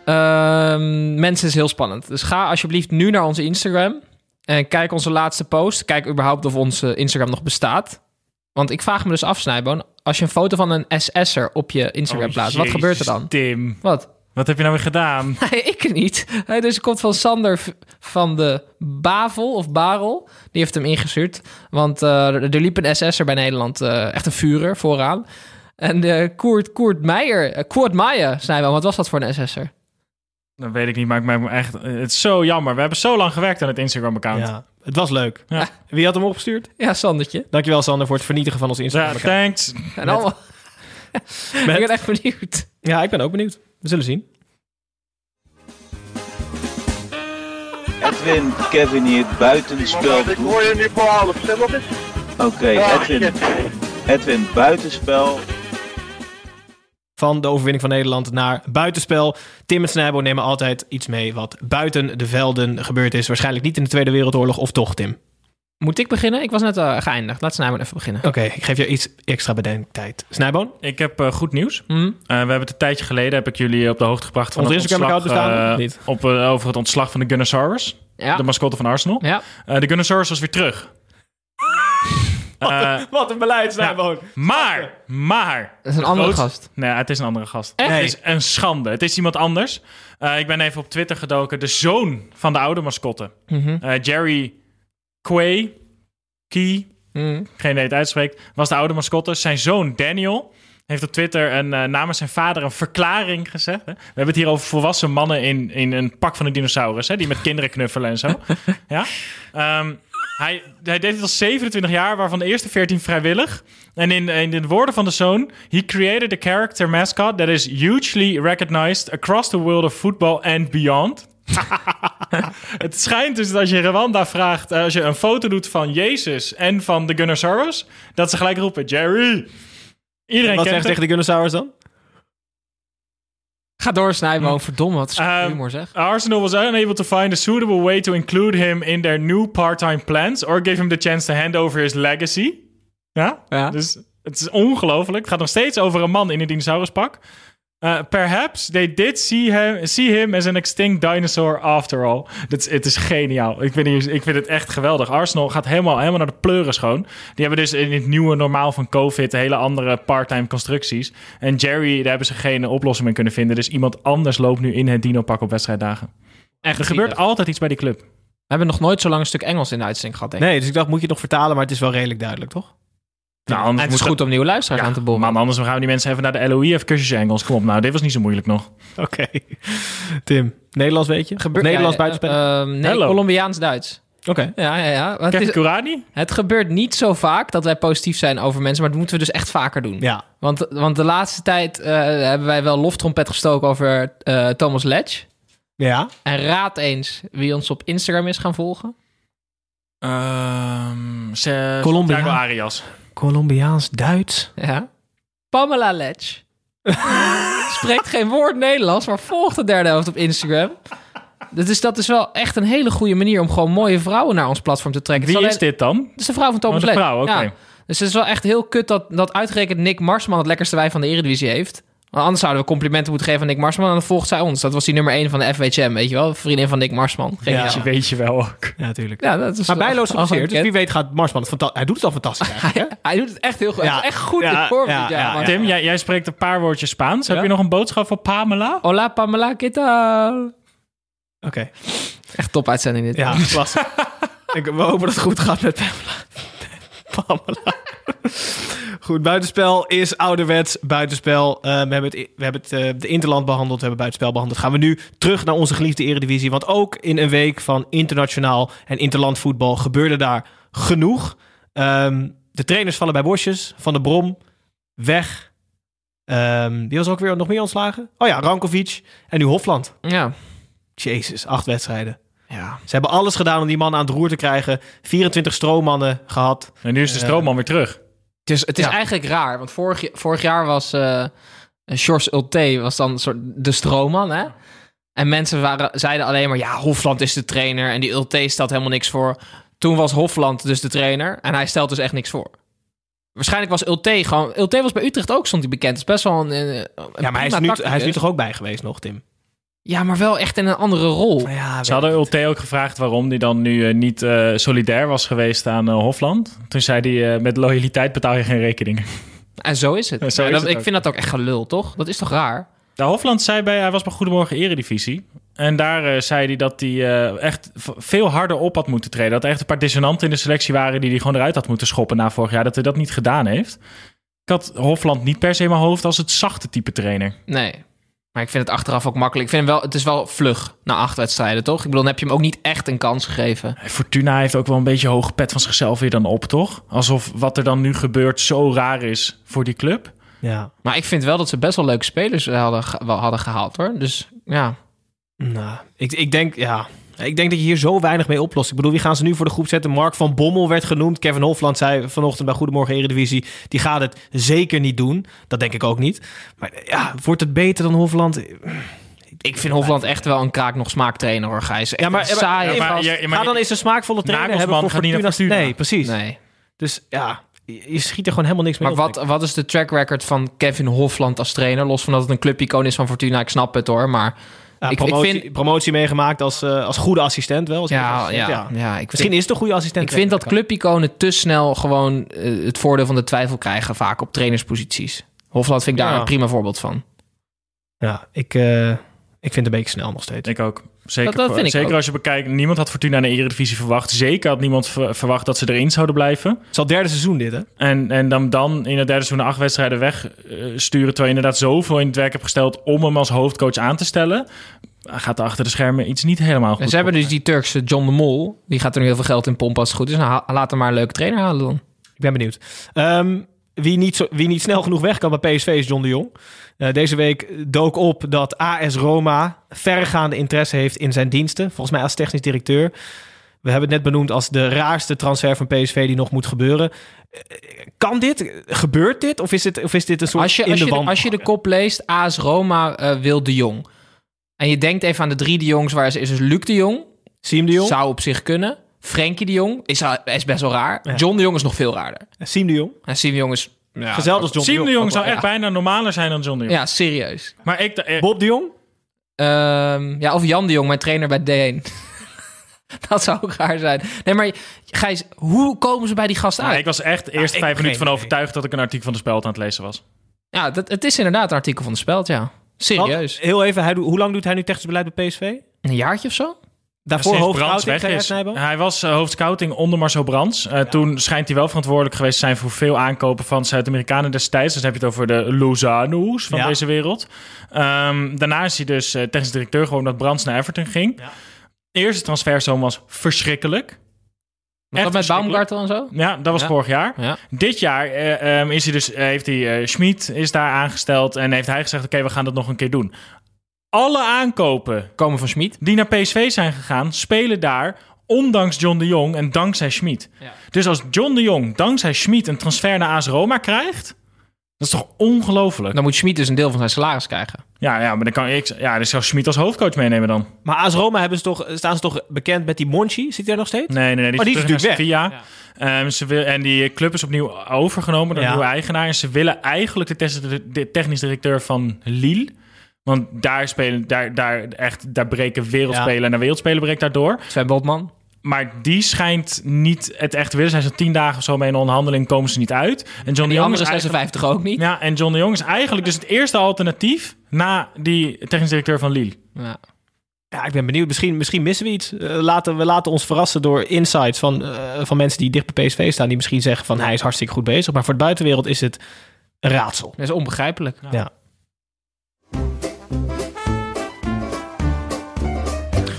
S4: Ehm, mensen is heel spannend. Dus ga alsjeblieft nu naar onze Instagram. En kijk onze laatste post. Kijk überhaupt of onze Instagram nog bestaat. Want ik vraag me dus af, Snijboon. Als je een foto van een SS'er op je Instagram plaatst, wat gebeurt er dan?
S3: Oh, Tim.
S4: Wat?
S3: Wat heb je nou weer gedaan?
S4: Nee, ik niet. Hij dus komt van Sander v- van de Bavel of Barel. Die heeft hem ingestuurd. Want eh, er er liep een SS'er bij Nederland. eh, echt een vurer vooraan. En eh Koert, Koert Meijer, eh, Koert Meijer, Snijboom, wat was dat voor een SS'er?
S3: Dat weet ik niet, maar ik merk me echt... eh, Het is zo jammer. We hebben zo lang gewerkt aan het Instagram-account.
S1: Ja, het was leuk.
S3: Ja.
S1: Wie had hem opgestuurd?
S4: Ja, Sandertje.
S1: Dankjewel Sander voor het vernietigen van ons
S3: Ja,
S1: Instagram.
S3: thanks.
S4: En allemaal, ik ben echt benieuwd.
S1: Ja, ik ben ook benieuwd. We zullen zien.
S2: Edwin, Kevin hier, buitenspel. Ik hoor je nu voor half, stem op Oké, Edwin. Edwin, buitenspel.
S1: Van de overwinning van Nederland naar buitenspel. Tim en Snijbo nemen altijd iets mee wat buiten de velden gebeurd is. Waarschijnlijk niet in de Tweede Wereldoorlog, of toch, Tim?
S4: Moet ik beginnen? Ik was net eh, geëindigd. Laat Snijboom even beginnen.
S1: Oké, ik geef jou iets extra bedenktijd. Snijboon?
S3: Ik heb eh, goed nieuws.
S4: Hm?
S3: Eh, we hebben het een tijdje geleden, heb ik jullie op de hoogte gebracht van
S1: Ons
S3: het
S1: Instagram-account
S3: ontslag,
S1: bestaan
S3: eh,
S1: nog niet.
S3: op, eh, over het ontslag van de Gunnosaurus, de
S4: Ja.
S3: mascotte van Arsenal.
S4: ja.
S3: Eh, de Gunnosaurus was weer terug. Eh,
S1: Wat een beleid,
S3: Snijboon. maar, maar.
S4: Dat is een andere
S3: groot-
S4: gast.
S3: Nee, het is een andere gast.
S4: Echt?
S3: Het is een schande. Het is iemand anders. Eh, ik ben even op Twitter gedoken. De zoon van de oude mascotte.
S4: Mhm.
S3: Eh, Jerry Quay, Key,
S4: Hm.
S3: geen idee hoe het uitspreekt, was de oude mascotte. Zijn zoon Daniel heeft op Twitter een, eh, namens zijn vader een verklaring gezegd. Hè? We hebben het hier over volwassen mannen in, in een pak van een dinosaurus, hè? die met kinderen knuffelen en zo. ja? Ehm, hij, hij deed het al 27 jaar, waarvan de eerste 14 vrijwillig. En in, in de woorden van de zoon... He created a character mascot that is hugely recognized... across the world of football and beyond. Het schijnt dus dat als je Rwanda vraagt, eh, als je een foto doet van Jezus en van de Gunnosaurus, dat ze gelijk roepen: Jerry. Iedereen
S1: Wat
S3: kent
S1: zegt
S3: hem.
S1: tegen de Gunnosaurus dan?
S4: Ga door, Snijboom. Verdomme, wat is
S3: Mm. Ehm,
S4: humor zeg.
S3: Arsenal was unable to find a suitable way to include him in their new part-time plans or give him the chance to hand over his legacy. Ja?
S4: Ja.
S3: Dus het is ongelooflijk. Het gaat nog steeds over een man in een dinosauruspak. Eh, perhaps they did see him, see him as an extinct dinosaur after all. Dat is, het is geniaal. Ik vind, hier- ik vind het echt geweldig. Arsenal gaat helemaal, helemaal naar de pleuren schoon. Die hebben dus in het nieuwe normaal van COVID hele andere part-time constructies. En Jerry, daar hebben ze geen oplossing mee kunnen vinden. Dus iemand anders loopt nu in het dinopak op wedstrijddagen.
S4: Echt
S3: Er gebeurt
S4: zielig.
S3: altijd iets bij die club.
S4: We hebben nog nooit zo lang een stuk Engels in de uitzending gehad, denk ik.
S1: Nee, dus ik dacht, moet je het nog vertalen, maar het is wel redelijk duidelijk, toch?
S3: Nou, anders
S4: En het is
S3: moet
S4: goed om nieuwe luisteraars
S3: Ja,
S4: aan te boren.
S3: Man, anders gaan we die mensen even naar de LOE of cursus Engels. Kom op nou, dit was niet zo moeilijk nog.
S1: Oké. Tim, Nederlands weet je?
S4: Gebeurt-
S1: Nederlands
S4: ja,
S1: buitenspel.
S4: eh, ehm, nee,
S3: Hello.
S4: Colombiaans-Duits.
S1: Oké.
S4: Ja, ja, ja. Want Het,
S3: Kevin
S4: is-
S3: Kourani?
S4: het gebeurt niet zo vaak dat wij positief zijn over mensen, maar dat moeten we dus echt vaker doen.
S1: Ja.
S4: Want, want de laatste tijd eh, hebben wij wel loftrompet gestoken over eh, Thomas Ledge.
S1: Ja.
S4: En raad eens wie ons op Instagram is gaan volgen.
S3: Ehm se-
S1: Colombia.
S3: Santiago Arias.
S1: Colombiaans, Duits.
S4: Ja. Pamela Ledge. Spreekt geen woord Nederlands, maar volgt de derde helft op Instagram. Dat is, dat is wel echt een hele goede manier om gewoon mooie vrouwen naar ons platform te trekken. Het
S3: Wie
S4: alleen-
S3: is dit dan?
S4: Dat is de vrouw van Thomas
S3: Oh, de
S4: Lett.
S3: vrouw, oké.
S4: Ja. Dus het is wel echt heel kut dat, dat uitgerekend Nick Marsman het lekkerste wij van de Eredivisie heeft. Want anders zouden we complimenten moeten geven aan Nick Marsman en dan volgt zij ons. Dat was die nummer 1 van de FWHM, weet je wel? Vriendin van Nick Marsman. Geen
S1: Ja.
S4: idee.
S3: Weet je wel ook.
S1: Ja, natuurlijk.
S4: ja, Oh, dat is
S1: Maar bijloos
S4: al
S1: geblesseerd, dus
S4: gekend.
S1: wie weet gaat Marsman het fantastisch... Hij doet het al fantastisch eigenlijk, hè?
S4: Hij doet het echt heel goed.
S1: Ja.
S4: Hij is echt goed
S1: Ja,
S4: in vorm
S1: ja,
S4: dit jaar.
S1: ja,
S4: Marsman.
S3: Tim, jij, jij spreekt een paar woordjes Spaans.
S4: Ja.
S3: Heb je nog een boodschap voor Pamela?
S4: Hola Pamela, ¿qué tal?
S1: Oké.
S4: Echt top uitzending dit.
S1: Ja, klas. Ik, we hopen dat het goed gaat met Pamela. Pamela. Goed, buitenspel is ouderwets buitenspel. Eh, we hebben, het, we hebben het, eh, de Interland behandeld, we hebben buitenspel behandeld. Gaan we nu terug naar onze geliefde Eredivisie. Want ook in een week van internationaal en Interland voetbal gebeurde daar genoeg. Ehm, de trainers vallen bij bosjes. Van de Brom, weg. Ehm, die was er ook weer nog meer ontslagen. Oh ja, Rankovic. En nu Hofland.
S4: Ja.
S1: Jezus, acht wedstrijden.
S4: ja.
S1: Ze hebben alles gedaan om die man aan het roer te krijgen. 24 stroommannen gehad.
S3: En nu is de
S1: Eh.
S3: stroomman weer terug.
S4: Het is, het is
S1: Ja.
S4: eigenlijk raar, want vorig, j- vorig jaar was eh George Ulte was dan een soort de stroomman, hè? En mensen waren, zeiden alleen maar, ja, Hofland is de trainer en die Ulte stelt helemaal niks voor. Toen was Hofland dus de trainer en hij stelt dus echt niks voor. Waarschijnlijk was Ulte gewoon... Ulte was bij Utrecht ook, stond hij bekend. Het is best wel een, eh, een
S1: Ja, maar hij is,
S4: prima dus.
S1: nu,
S4: tacticus.
S1: hij is nu toch ook bij geweest nog, Tim?
S4: Ja, maar wel echt in een andere rol.
S1: Ja,
S3: Ze hadden Ulte ook gevraagd waarom hij dan nu eh, niet eh, solidair was geweest aan eh, Hofland. Toen zei hij, eh, met loyaliteit betaal je geen rekeningen.
S4: En zo is het.
S3: Ja, zo
S4: Maar
S3: is
S4: dat-
S3: het
S4: ik
S3: ook.
S4: vind dat ook echt gelul, toch? Dat is toch raar?
S3: De Hofland zei bij, hij was bij Goedemorgen Eredivisie. En daar eh, zei hij dat hij eh, echt v- veel harder op had moeten treden. Dat er echt een paar dissonanten in de selectie waren die hij gewoon eruit had moeten schoppen na vorig jaar. Dat hij dat niet gedaan heeft. Ik had Hofland niet per se in mijn hoofd als het zachte type trainer.
S4: Nee. Maar ik vind het achteraf ook makkelijk. Ik vind hem wel, het is wel vlug na acht wedstrijden, toch? Ik bedoel, dan heb je hem ook niet echt een kans gegeven.
S3: Fortuna heeft ook wel een beetje hoge pet van zichzelf weer dan op, toch? Alsof wat er dan nu gebeurt zo raar is voor die club.
S1: Ja.
S4: Maar ik vind wel dat ze best wel leuke spelers hadden, ge- wel hadden gehaald, hoor. Dus ja.
S1: Nou, ik, ik denk, ja. Ik denk dat je hier zo weinig mee oplost. Ik bedoel, wie gaan ze nu voor de groep zetten? Mark van Bommel werd genoemd. Kevin Hofland zei vanochtend bij Goedemorgen Eredivisie... die gaat het zeker niet doen. Dat denk ik ook niet. Maar ja, wordt het beter dan Hofland?
S4: Ik vind Hofland echt wel een kraak nog smaaktrainer, hoor, Gijs. Echt
S1: Ja, maar-
S4: een saaie
S3: Ja, maar-
S4: gast.
S3: ja, ja, maar-
S1: Ga dan eens een smaakvolle trainer hebben
S3: Nagelsman
S1: voor
S3: gaat niet
S1: Fortuna.
S3: naar Fortuna.
S1: Nee, precies.
S4: Nee.
S1: Dus ja, je je schiet er gewoon helemaal niks mee
S4: Maar
S1: op.
S4: wat, wat is de track record van Kevin Hofland als trainer? Los van dat het een clubicoon is van Fortuna, ik snap het hoor. Maar
S1: Ja,
S4: ik,
S1: promotie,
S4: ik vind,
S1: promotie meegemaakt als, eh, als goede assistent wel. als
S4: ja,
S1: assistent,
S4: ja, ja. ik
S1: Misschien
S4: vind,
S1: is het een goede assistent.
S4: ik vind dat clubiconen te snel gewoon eh, het voordeel van de twijfel krijgen vaak op trainersposities. Hofland vind ik daar
S1: Ja.
S4: een prima voorbeeld van.
S1: Ja, ik, eh, ik vind het een beetje snel nog steeds.
S3: Ik ook. Zeker,
S4: Dat- dat vind ik
S3: zeker
S4: ook.
S3: als je bekijkt, niemand had Fortuna in de Eredivisie verwacht. Zeker had niemand ver- verwacht dat ze erin zouden blijven.
S1: Het is al het derde seizoen dit, hè?
S3: En, en dan, dan in het derde seizoen acht wedstrijden wegsturen. terwijl je inderdaad zoveel in het werk hebt gesteld om hem als hoofdcoach aan te stellen. Hij Gaat er achter de schermen iets niet helemaal goed.
S4: en ze hebben dus die Turkse John de Mol. Die gaat er nu heel veel geld in pompen als het goed is. Nou, ha- laat hem maar een leuke trainer halen dan.
S1: Ik ben benieuwd. Ehm, wie, niet zo, wie niet snel genoeg weg kan bij PSV is John de Jong. Eh, deze week dook op dat AS Roma verregaande interesse heeft in zijn diensten. Volgens mij als technisch directeur. We hebben het net benoemd als de raarste transfer van PSV die nog moet gebeuren. Eh, Kan dit? Gebeurt dit? Of is dit, of is dit een soort
S4: Als je,
S1: in
S4: als,
S1: de
S4: je de,
S1: wand?
S4: als je de kop leest, AS Roma eh, wil de Jong. En je denkt even aan de drie de Jongs waar ze is. Dus Luc de Jong,
S1: Siem de Jong?
S4: Zou op zich kunnen. Frenkie de Jong is, eh, is best wel raar.
S1: Ja.
S4: John de Jong is nog veel raarder.
S1: Siem de Jong?
S4: En Siem de Jong is... Ja,
S1: Gezellig als John de
S3: Siem
S1: Jong. Oh,
S3: de Jong zou
S4: Ja.
S3: echt bijna normaler zijn dan John de Jong.
S4: Ja, serieus.
S3: Maar ik, eh,
S1: Bob de Jong?
S4: Ehm, ja, of Jan de Jong, mijn trainer bij D1. dat zou ook raar zijn. Nee, maar Gijs, hoe komen ze bij die gast
S3: nou,
S4: uit?
S3: ik was echt de eerste
S1: ik
S3: vijf
S1: heb
S3: minuten van
S1: geen
S3: overtuigd dat ik een artikel van de Speld aan het lezen was.
S4: Ja, dat, het is inderdaad een artikel van de Speld, ja. Serieus.
S1: Want, heel even, hij, doet- hoe lang doet hij nu technisch beleid bij PSV?
S4: Een jaartje of zo?
S1: Daarvoor
S3: Sinds
S1: hoofdscout
S3: Brands
S1: in
S3: weg
S1: Gerard
S3: is.
S1: Nijboom?
S3: Hij was eh, hoofdscouting onder Marcel Brands. Eh, Toen schijnt hij wel verantwoordelijk geweest te zijn voor veel aankopen van Zuid-Amerikanen destijds. Dus dan heb je het over de Lozano's van
S1: Ja.
S3: deze wereld. Ehm, daarna is hij dus eh, technisch directeur gewoon dat Brands naar Everton ging.
S1: Ja.
S3: Eerste transferzoom was verschrikkelijk.
S4: Was dat met
S3: verschrikkelijk.
S4: Baumgartel en zo?
S3: Ja, dat was
S4: Ja.
S3: vorig jaar.
S4: Ja.
S3: Dit jaar eh, ehm, is hij dus, eh, heeft hij eh, Schmid is daar aangesteld en heeft hij gezegd: oké, we gaan dat nog een keer doen. Alle aankopen
S4: Komen van Schmid.
S3: die naar PSV zijn gegaan, spelen daar ondanks John de Jong en dankzij Schmid.
S4: Ja.
S3: Dus als John de Jong dankzij Schmid een transfer naar AS Roma krijgt, dat is toch ongelooflijk?
S4: Dan moet Schmid dus een deel van zijn salaris krijgen.
S3: Ja, ja, maar dan kan ik, ja, dan zou Schmid als hoofdcoach meenemen dan.
S1: Maar AS Roma hebben ze toch, staan ze toch bekend met die Monchi? Zit hij er nog steeds?
S3: Nee, nee, nee. Die,
S1: Maar die
S3: is
S1: is
S3: terug naar
S1: natuurlijk
S3: Sevilla. Ehm, ze wil, en die club is opnieuw overgenomen door
S1: Ja.
S3: een nieuwe eigenaar. En ze willen eigenlijk de, tes- de technisch directeur van Lille. Want daar, spelen, daar, daar, echt, daar breken wereldspelen en naar wereldspelen breekt daardoor.
S4: Sven Botman.
S3: Maar die schijnt niet het echt te willen. Zijn ze tien dagen of zo mee in onderhandeling, komen ze niet uit. En John de
S4: Die
S3: Jong
S4: andere
S3: is eigenlijk,
S4: 56 ook niet.
S3: ja, en John de Jong is eigenlijk dus het eerste alternatief na die technisch directeur van Lille.
S4: Ja.
S1: Ja, ik ben benieuwd. Misschien, misschien missen we iets. Eh, laten, we laten ons verrassen door insights van, eh, van mensen die dicht bij PSV staan. Die misschien zeggen van hij is hartstikke goed bezig. Maar voor de buitenwereld is het een raadsel.
S4: Dat is onbegrijpelijk.
S1: Ja.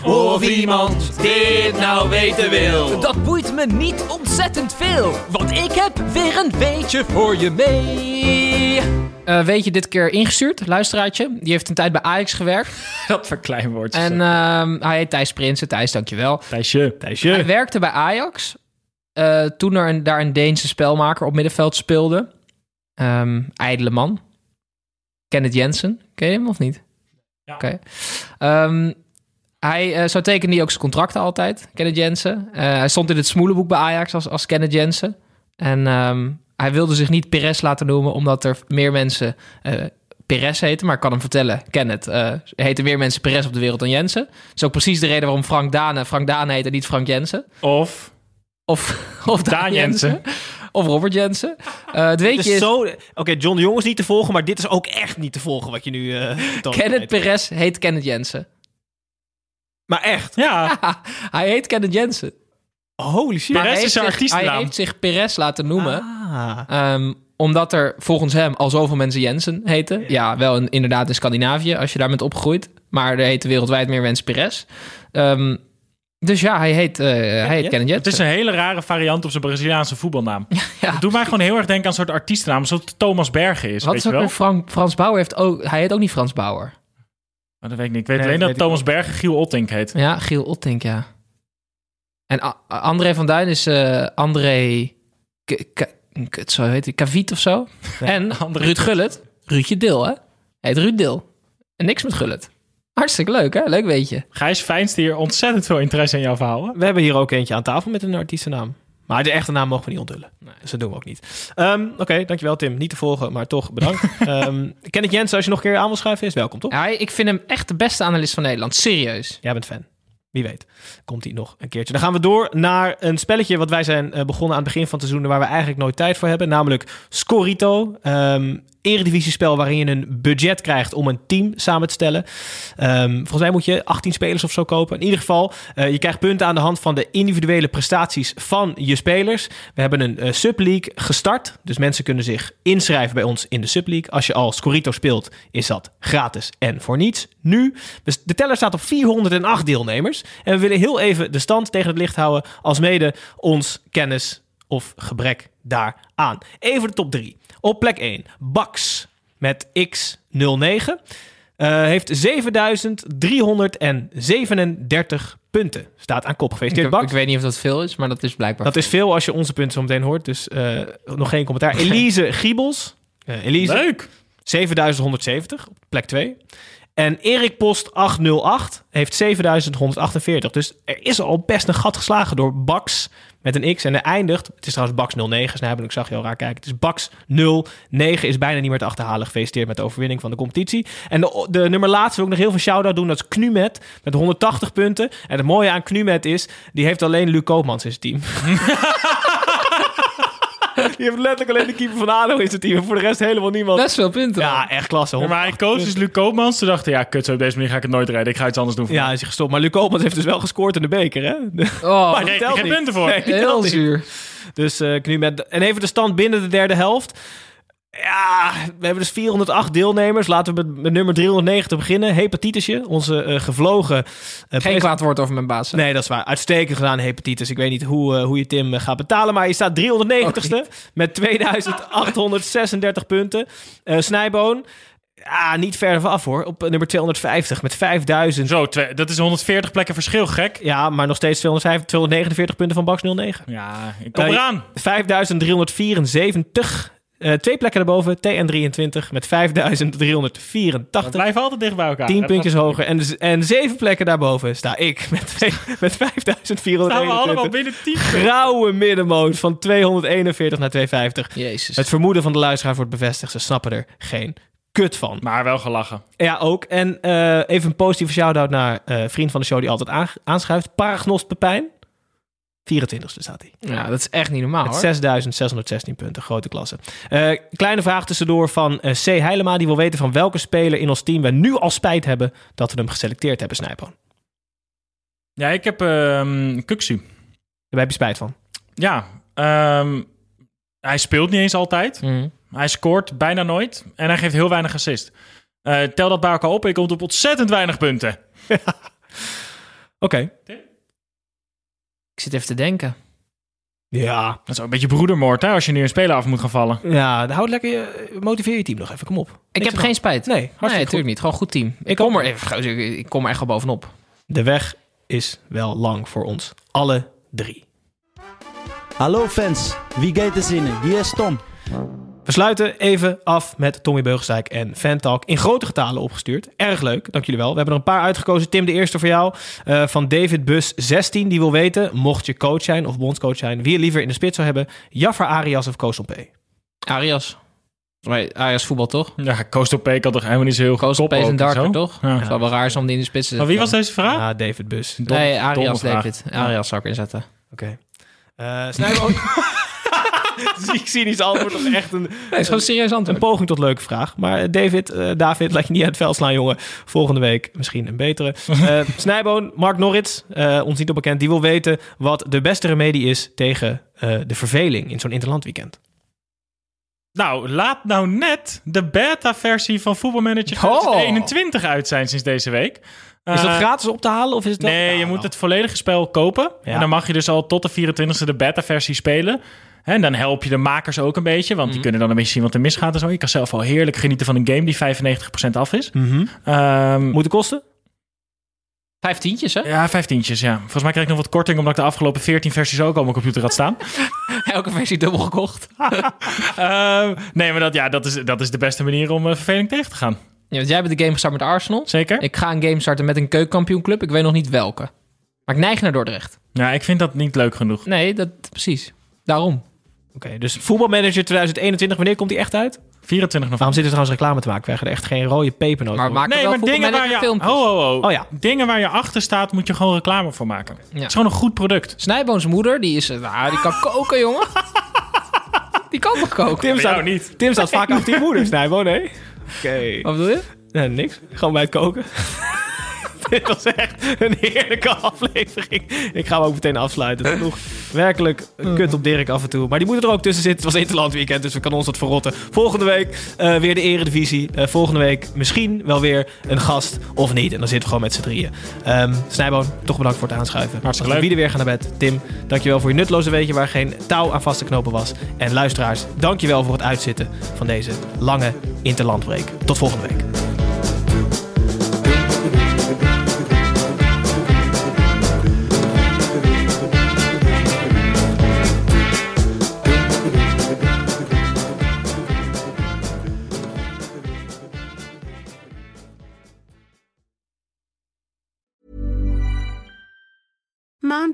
S4: Of iemand dit nou weten wil. Dat boeit me niet ontzettend veel. Want ik heb weer een weetje voor je mee. weet je, Eh, dit keer ingestuurd, luisteraartje. Die heeft een tijd bij Ajax gewerkt.
S3: Dat verkleinwoord.
S4: En
S3: En,
S4: ehm, hij heet Thijs Prinsen. Thijs, dankjewel.
S3: Thijsje.
S4: Hij werkte bij Ajax. eh, toen er een, daar een Deense spelmaker op middenveld speelde. Ehm ijdele man. Kenneth Jensen. Ken je hem of niet?
S3: Ja.
S4: Oké. Ehm, hij, eh, zo tekende hij ook zijn contracten altijd, Kenneth Jensen. Eh, hij stond in het smoelenboek bij Ajax als, als Kenneth Jensen. En ehm, hij wilde zich niet Perez laten noemen, omdat er meer mensen eh Perez heten. Maar ik kan hem vertellen, Kenneth, eh heten meer mensen Perez op de wereld dan Jensen. Dat is ook precies de reden waarom Frank Dane Frank Dane heet en niet Frank Jensen.
S3: Of
S4: Of, of Daan,
S3: Daan Jensen.
S4: Jensen. Of Robert Jensen. Eh, het
S1: Het
S4: weetje
S1: is
S4: is,
S1: zo... Oké, John de Jong is niet te volgen, maar dit is ook echt niet te volgen wat je nu... eh, toont.
S4: Kenneth Perez heet Kenneth Jensen.
S1: Maar echt.
S3: Ja,
S4: Ha, hij heet Kenneth Jensen.
S1: Holy shit.
S3: Maar- Perez
S4: hij
S3: is
S4: heeft
S3: zijn
S4: zich-
S3: artiestennaam.
S4: Hij heeft zich Perez laten noemen.
S1: Ah.
S4: Ehm, omdat er volgens hem al zoveel mensen Jensen heten. Ja, wel in, inderdaad in Scandinavië, als je daar bent opgegroeid. Maar er heten wereldwijd meer mensen Perez. Ehm, dus ja, hij heet, eh hij heet Kenneth
S3: het is
S4: Jensen.
S3: een hele rare variant op zijn Braziliaanse voetbalnaam.
S4: Ja.
S3: Het doet mij gewoon heel erg denken aan een soort artiestennaam, zoals Thomas Bergen is,
S4: Wat
S3: weet
S4: is
S3: je
S4: ook
S3: wel?
S4: weer Frank, Frans Bauer? Heeft ook, hij heet ook niet Frans Bauer.
S3: Maar dat weet ik niet. Ik weet
S1: Nee,
S3: alleen
S1: dat
S3: dat,
S1: weet ik
S3: Thomas Bergen Giel Ottink heet.
S4: Ja, Giel Ottink, ja. En A- A- André van Duin is eh, André... K- K- kut, zo heet hij. Kaviet of zo. en
S3: André-
S4: Ruud Gullit. Ruudje Dil, hè? Heet Ruud Dil. En niks met Gullit. Hartstikke leuk, hè? Leuk weet je.
S3: Gijs Fijnst hier ontzettend veel interesse in jouw verhaal.
S1: We hebben hier ook eentje aan tafel met een artiestennaam. Maar de echte naam mogen we niet onthullen. Dus dat doen we ook niet. Ehm, Oké, dankjewel Tim. Niet te volgen, maar toch bedankt. Ehm Kenneth Jensen, als je nog een keer aan wil schuiven, is welkom, toch?
S4: Hij, ik vind hem echt de beste analist van Nederland. Serieus.
S1: Jij bent fan. Wie weet, komt hij nog een keertje. Dan gaan we door naar een spelletje wat wij zijn eh, begonnen aan het begin van het seizoen... waar we eigenlijk nooit tijd voor hebben, namelijk Scorito. Ehm eredivisiespel waarin je een budget krijgt om een team samen te stellen. Ehm, volgens mij moet je 18 spelers of zo kopen. In ieder geval, eh, je krijgt punten aan de hand van de individuele prestaties van je spelers. We hebben een eh, subleague gestart, dus mensen kunnen zich inschrijven bij ons in de subleague. Als je al Scorito speelt, is dat gratis en voor niets. Nu, dus de teller staat op 408 deelnemers. En we willen heel even de stand tegen het licht houden, alsmede ons kennis of gebrek daaraan. Even de top 3. Op plek 1, Bax met X09. Eh, heeft 7337 punten. Staat aan kop.
S4: Ik,
S1: Gefeliciteerd,
S4: ik,
S1: Bak.
S4: weet niet of dat veel is, maar dat is blijkbaar
S1: Dat is veel als je onze punten zo meteen hoort. Dus eh, nog geen commentaar. Elise Giebels. Eh, Elise,
S3: Leuk!
S1: 7170 op plek 2. En Erik Post 808 heeft 7148. Dus er is al best een gat geslagen door Bax met een X. En hij eindigt, het is trouwens Bax 09, snijbel, ik zag je al raar kijken. Het is Bax 09, is bijna niet meer te achterhalen. Gefeliciteerd met de overwinning van de competitie. En de, de nummer laatst wil ik nog heel veel shout-out doen. Dat is Knumet met 180 punten. En het mooie aan Knumet is, die heeft alleen Luc Koopmans in zijn team. die heeft letterlijk alleen de keeper van ADO in zijn team. En voor de rest helemaal niemand.
S4: best veel punten.
S1: Ja, echt klasse.
S3: Ja, maar hij koos dus Luc Koopmans. Toen dacht hij, ja, kut, zo op deze manier ga ik het nooit redden. Ik ga iets anders doen.
S1: Ja, hij is gestopt. Maar Luc Koopmans heeft dus wel gescoord in de beker, hè?
S4: Oh,
S1: maar
S3: nee,
S1: die telt
S3: geen
S1: niet.
S3: punten voor.
S1: Nee, die telt
S4: heel
S1: niet.
S4: zuur.
S1: Dus eh, ik nu met... En even de stand binnen de derde helft. Ja, we hebben dus 408 deelnemers. Laten we met, met nummer 390 beginnen. Hepatitisje, onze eh, gevlogen... eh,
S4: Geen
S1: pres-
S4: kwaad woord over mijn baas. hè?
S1: Nee, dat is waar. Uitstekend gedaan, hepatitis. Ik weet niet hoe, eh, hoe je Tim eh, gaat betalen, maar je staat
S3: Oh,
S1: 390ste met 2836 punten. Eh Snijboon, ja, niet ver van af hoor. Op eh, nummer 250 met 5000.
S3: Zo, twee- dat is 140 plekken verschil, gek.
S1: Ja, maar nog steeds 205 249 punten van Bax 09.
S3: Ja, nou, ik kom
S1: Eh,
S3: eraan.
S1: 5374. Eh, twee plekken daarboven, TN23 met 5384.
S3: We blijven altijd dicht bij elkaar.
S1: 10
S3: Dat
S1: puntjes
S3: was-
S1: hoger. En, en zeven plekken daarboven sta ik met, twee- met
S3: Staan we allemaal
S1: 5421.
S3: binnen 10
S1: Grauwe middenmoot van 241 naar 250.
S4: Jezus.
S1: Het vermoeden van de luisteraar wordt bevestigd. Ze snappen er geen kut van.
S3: Maar wel gelachen.
S1: Ja, ook. En eh, even een positieve shout-out naar eh, vriend van de show die altijd aang- aanschuift. Paragnost Pepijn. 24ste staat hij.
S4: Ja, dat is echt niet normaal,
S3: Ah,
S1: Met
S4: hoor.
S1: 6616 punten, grote klasse. Eh, kleine vraag tussendoor van eh, C. Heilema. Die wil weten van welke speler in ons team we nu al spijt hebben dat we hem geselecteerd hebben, Snijpoon.
S3: Ja, ik heb ehm Kuksu.
S1: Daar heb je spijt van.
S3: Ja, ehm, hij speelt niet eens altijd.
S4: Mm.
S3: Hij scoort bijna nooit. En hij geeft heel weinig assist. Eh, tel dat bij elkaar op en je komt op ontzettend weinig punten.
S1: Oké.
S4: Ik zit even te denken.
S1: Ja.
S3: Dat is ook een beetje broedermoord, hè, als je nu een speler af moet gaan vallen.
S1: Ja, dan houd lekker je, motiveer je team nog even. Kom op.
S4: Ik
S1: Niks
S4: heb
S1: aan
S4: geen spijt.
S1: Nee,
S4: nee
S1: hartstikke
S4: natuurlijk
S1: goed.
S4: niet. Gewoon goed team. Ik kom, er, even- ik kom er echt wel bovenop.
S1: De weg is wel lang voor ons. Alle drie.
S5: Hallo fans, wie gaat er zinnen? Hier is Tom.
S1: We sluiten even af met Tommy Beugelsdijk en Fantalk. In grote getalen opgestuurd. Erg leuk, dank jullie wel. We hebben er een paar uitgekozen. Tim, de eerste voor jou. eh, van David Bus 16. Die wil weten, mocht je coach zijn of bondscoach zijn... wie je liever in de spits zou hebben. Jaffa Arias of Koos P.
S4: Arias. Volgens mij Arias voetbal, toch?
S3: Ja, Coastal Peek had toch helemaal niet zo heel
S4: Koos op
S3: kop
S4: is een
S3: ook en
S4: darker,
S3: zo?
S4: toch?
S3: Ja.
S4: Het zou wel raar zijn om die in de spits te
S3: Maar
S4: zetten.
S3: wie was deze vraag?
S1: Ah, David Bus. Oké.
S4: Nee,
S3: domme
S4: Arias
S3: vraag.
S4: David. Arias zou ik inzetten.
S1: Eh, Snijboon. Ziek cynisch antwoord op echt een,
S4: Nee, is gewoon een serieus
S1: een
S4: antwoord.
S1: poging tot leuke vraag. Maar David, eh, David, laat je niet uit het veld slaan, jongen. Volgende week misschien een betere. Eh, Snijboon, Mark Norrits, eh, ons niet onbekend, die wil weten wat de beste remedie is tegen eh, de verveling in zo'n interlandweekend.
S3: Nou, laat nou net de beta-versie van Voetbalmanager
S4: Oh.
S3: 2021 uit zijn sinds deze week.
S1: Is dat
S3: Eh,
S1: gratis op te halen of is het wel-
S3: Nee,
S1: Nou,
S3: je moet
S1: nou.
S3: het volledige spel kopen.
S1: Ja.
S3: En dan mag je dus al tot de 24e de beta-versie spelen. En dan help je de makers ook een beetje, want die kunnen dan een beetje zien wat er misgaat en zo. Je kan zelf al heerlijk genieten van een game die 95% af is.
S1: Mhm.
S3: Ehm,
S1: Moet het kosten?
S4: Vijf tientjes, hè?
S3: ja, vijftientjes, ja. Volgens mij krijg ik nog wat korting, omdat ik de afgelopen 14 versies ook al op mijn computer had staan.
S4: Elke versie dubbel gekocht.
S3: Ehm, nee, maar dat, ja, dat, is, dat is de beste manier om eh, verveling tegen te gaan.
S4: Ja, want jij bent de game gestart met Arsenal.
S3: Zeker?
S4: Ik ga een game starten met een keukenkampioenclub. Ik weet nog niet welke. Maar ik neig naar Dordrecht.
S3: Ja, ik vind dat niet leuk genoeg.
S4: Nee, dat precies. Daarom.
S1: Oké, dus Voetbalmanager 2021, wanneer komt die echt uit?
S3: 24 november.
S1: Waarom zit er trouwens reclame te maken? We krijgen er echt geen rode pepernoot
S4: Maar
S1: op.
S4: maak er
S3: Nee,
S4: wel
S3: maar dingen waar,
S4: voetbalmanager
S3: je,
S4: filmpjes.
S3: ho, ho, ho.
S1: Oh ja.
S3: dingen waar je achter staat, moet je gewoon reclame voor maken. Het is gewoon een goed product.
S4: Snijboons moeder, die is... eh, Nou, die kan koken, jongen. die kan toch koken?
S1: Tim staat,
S3: jou niet.
S1: Tim staat vaak achter je moeder, Snijboon, hè? Oké.
S4: Wat bedoel je?
S1: Nee, niks. Gewoon bij het koken. Dit was echt een heerlijke aflevering. Ik ga hem ook meteen afsluiten. Het sloeg werkelijk kut op Dirk af en toe. Maar die moet er ook tussen zitten. Het was Interland weekend, dus we kan ons wat verrotten. Volgende week eh, weer de Eredivisie. Eh, volgende week misschien wel weer een gast of niet. En dan zitten we gewoon met z'n drieën. Ehm Snijboon, toch bedankt voor het aanschuiven.
S3: Hartstikke leuk.
S1: Wie er weer gaan naar bed. Tim, dankjewel voor je nutloze weetje waar geen touw aan vast te knopen was. En luisteraars, dankjewel voor het uitzitten van deze lange Interlandbreek. Tot volgende week.
S6: Mom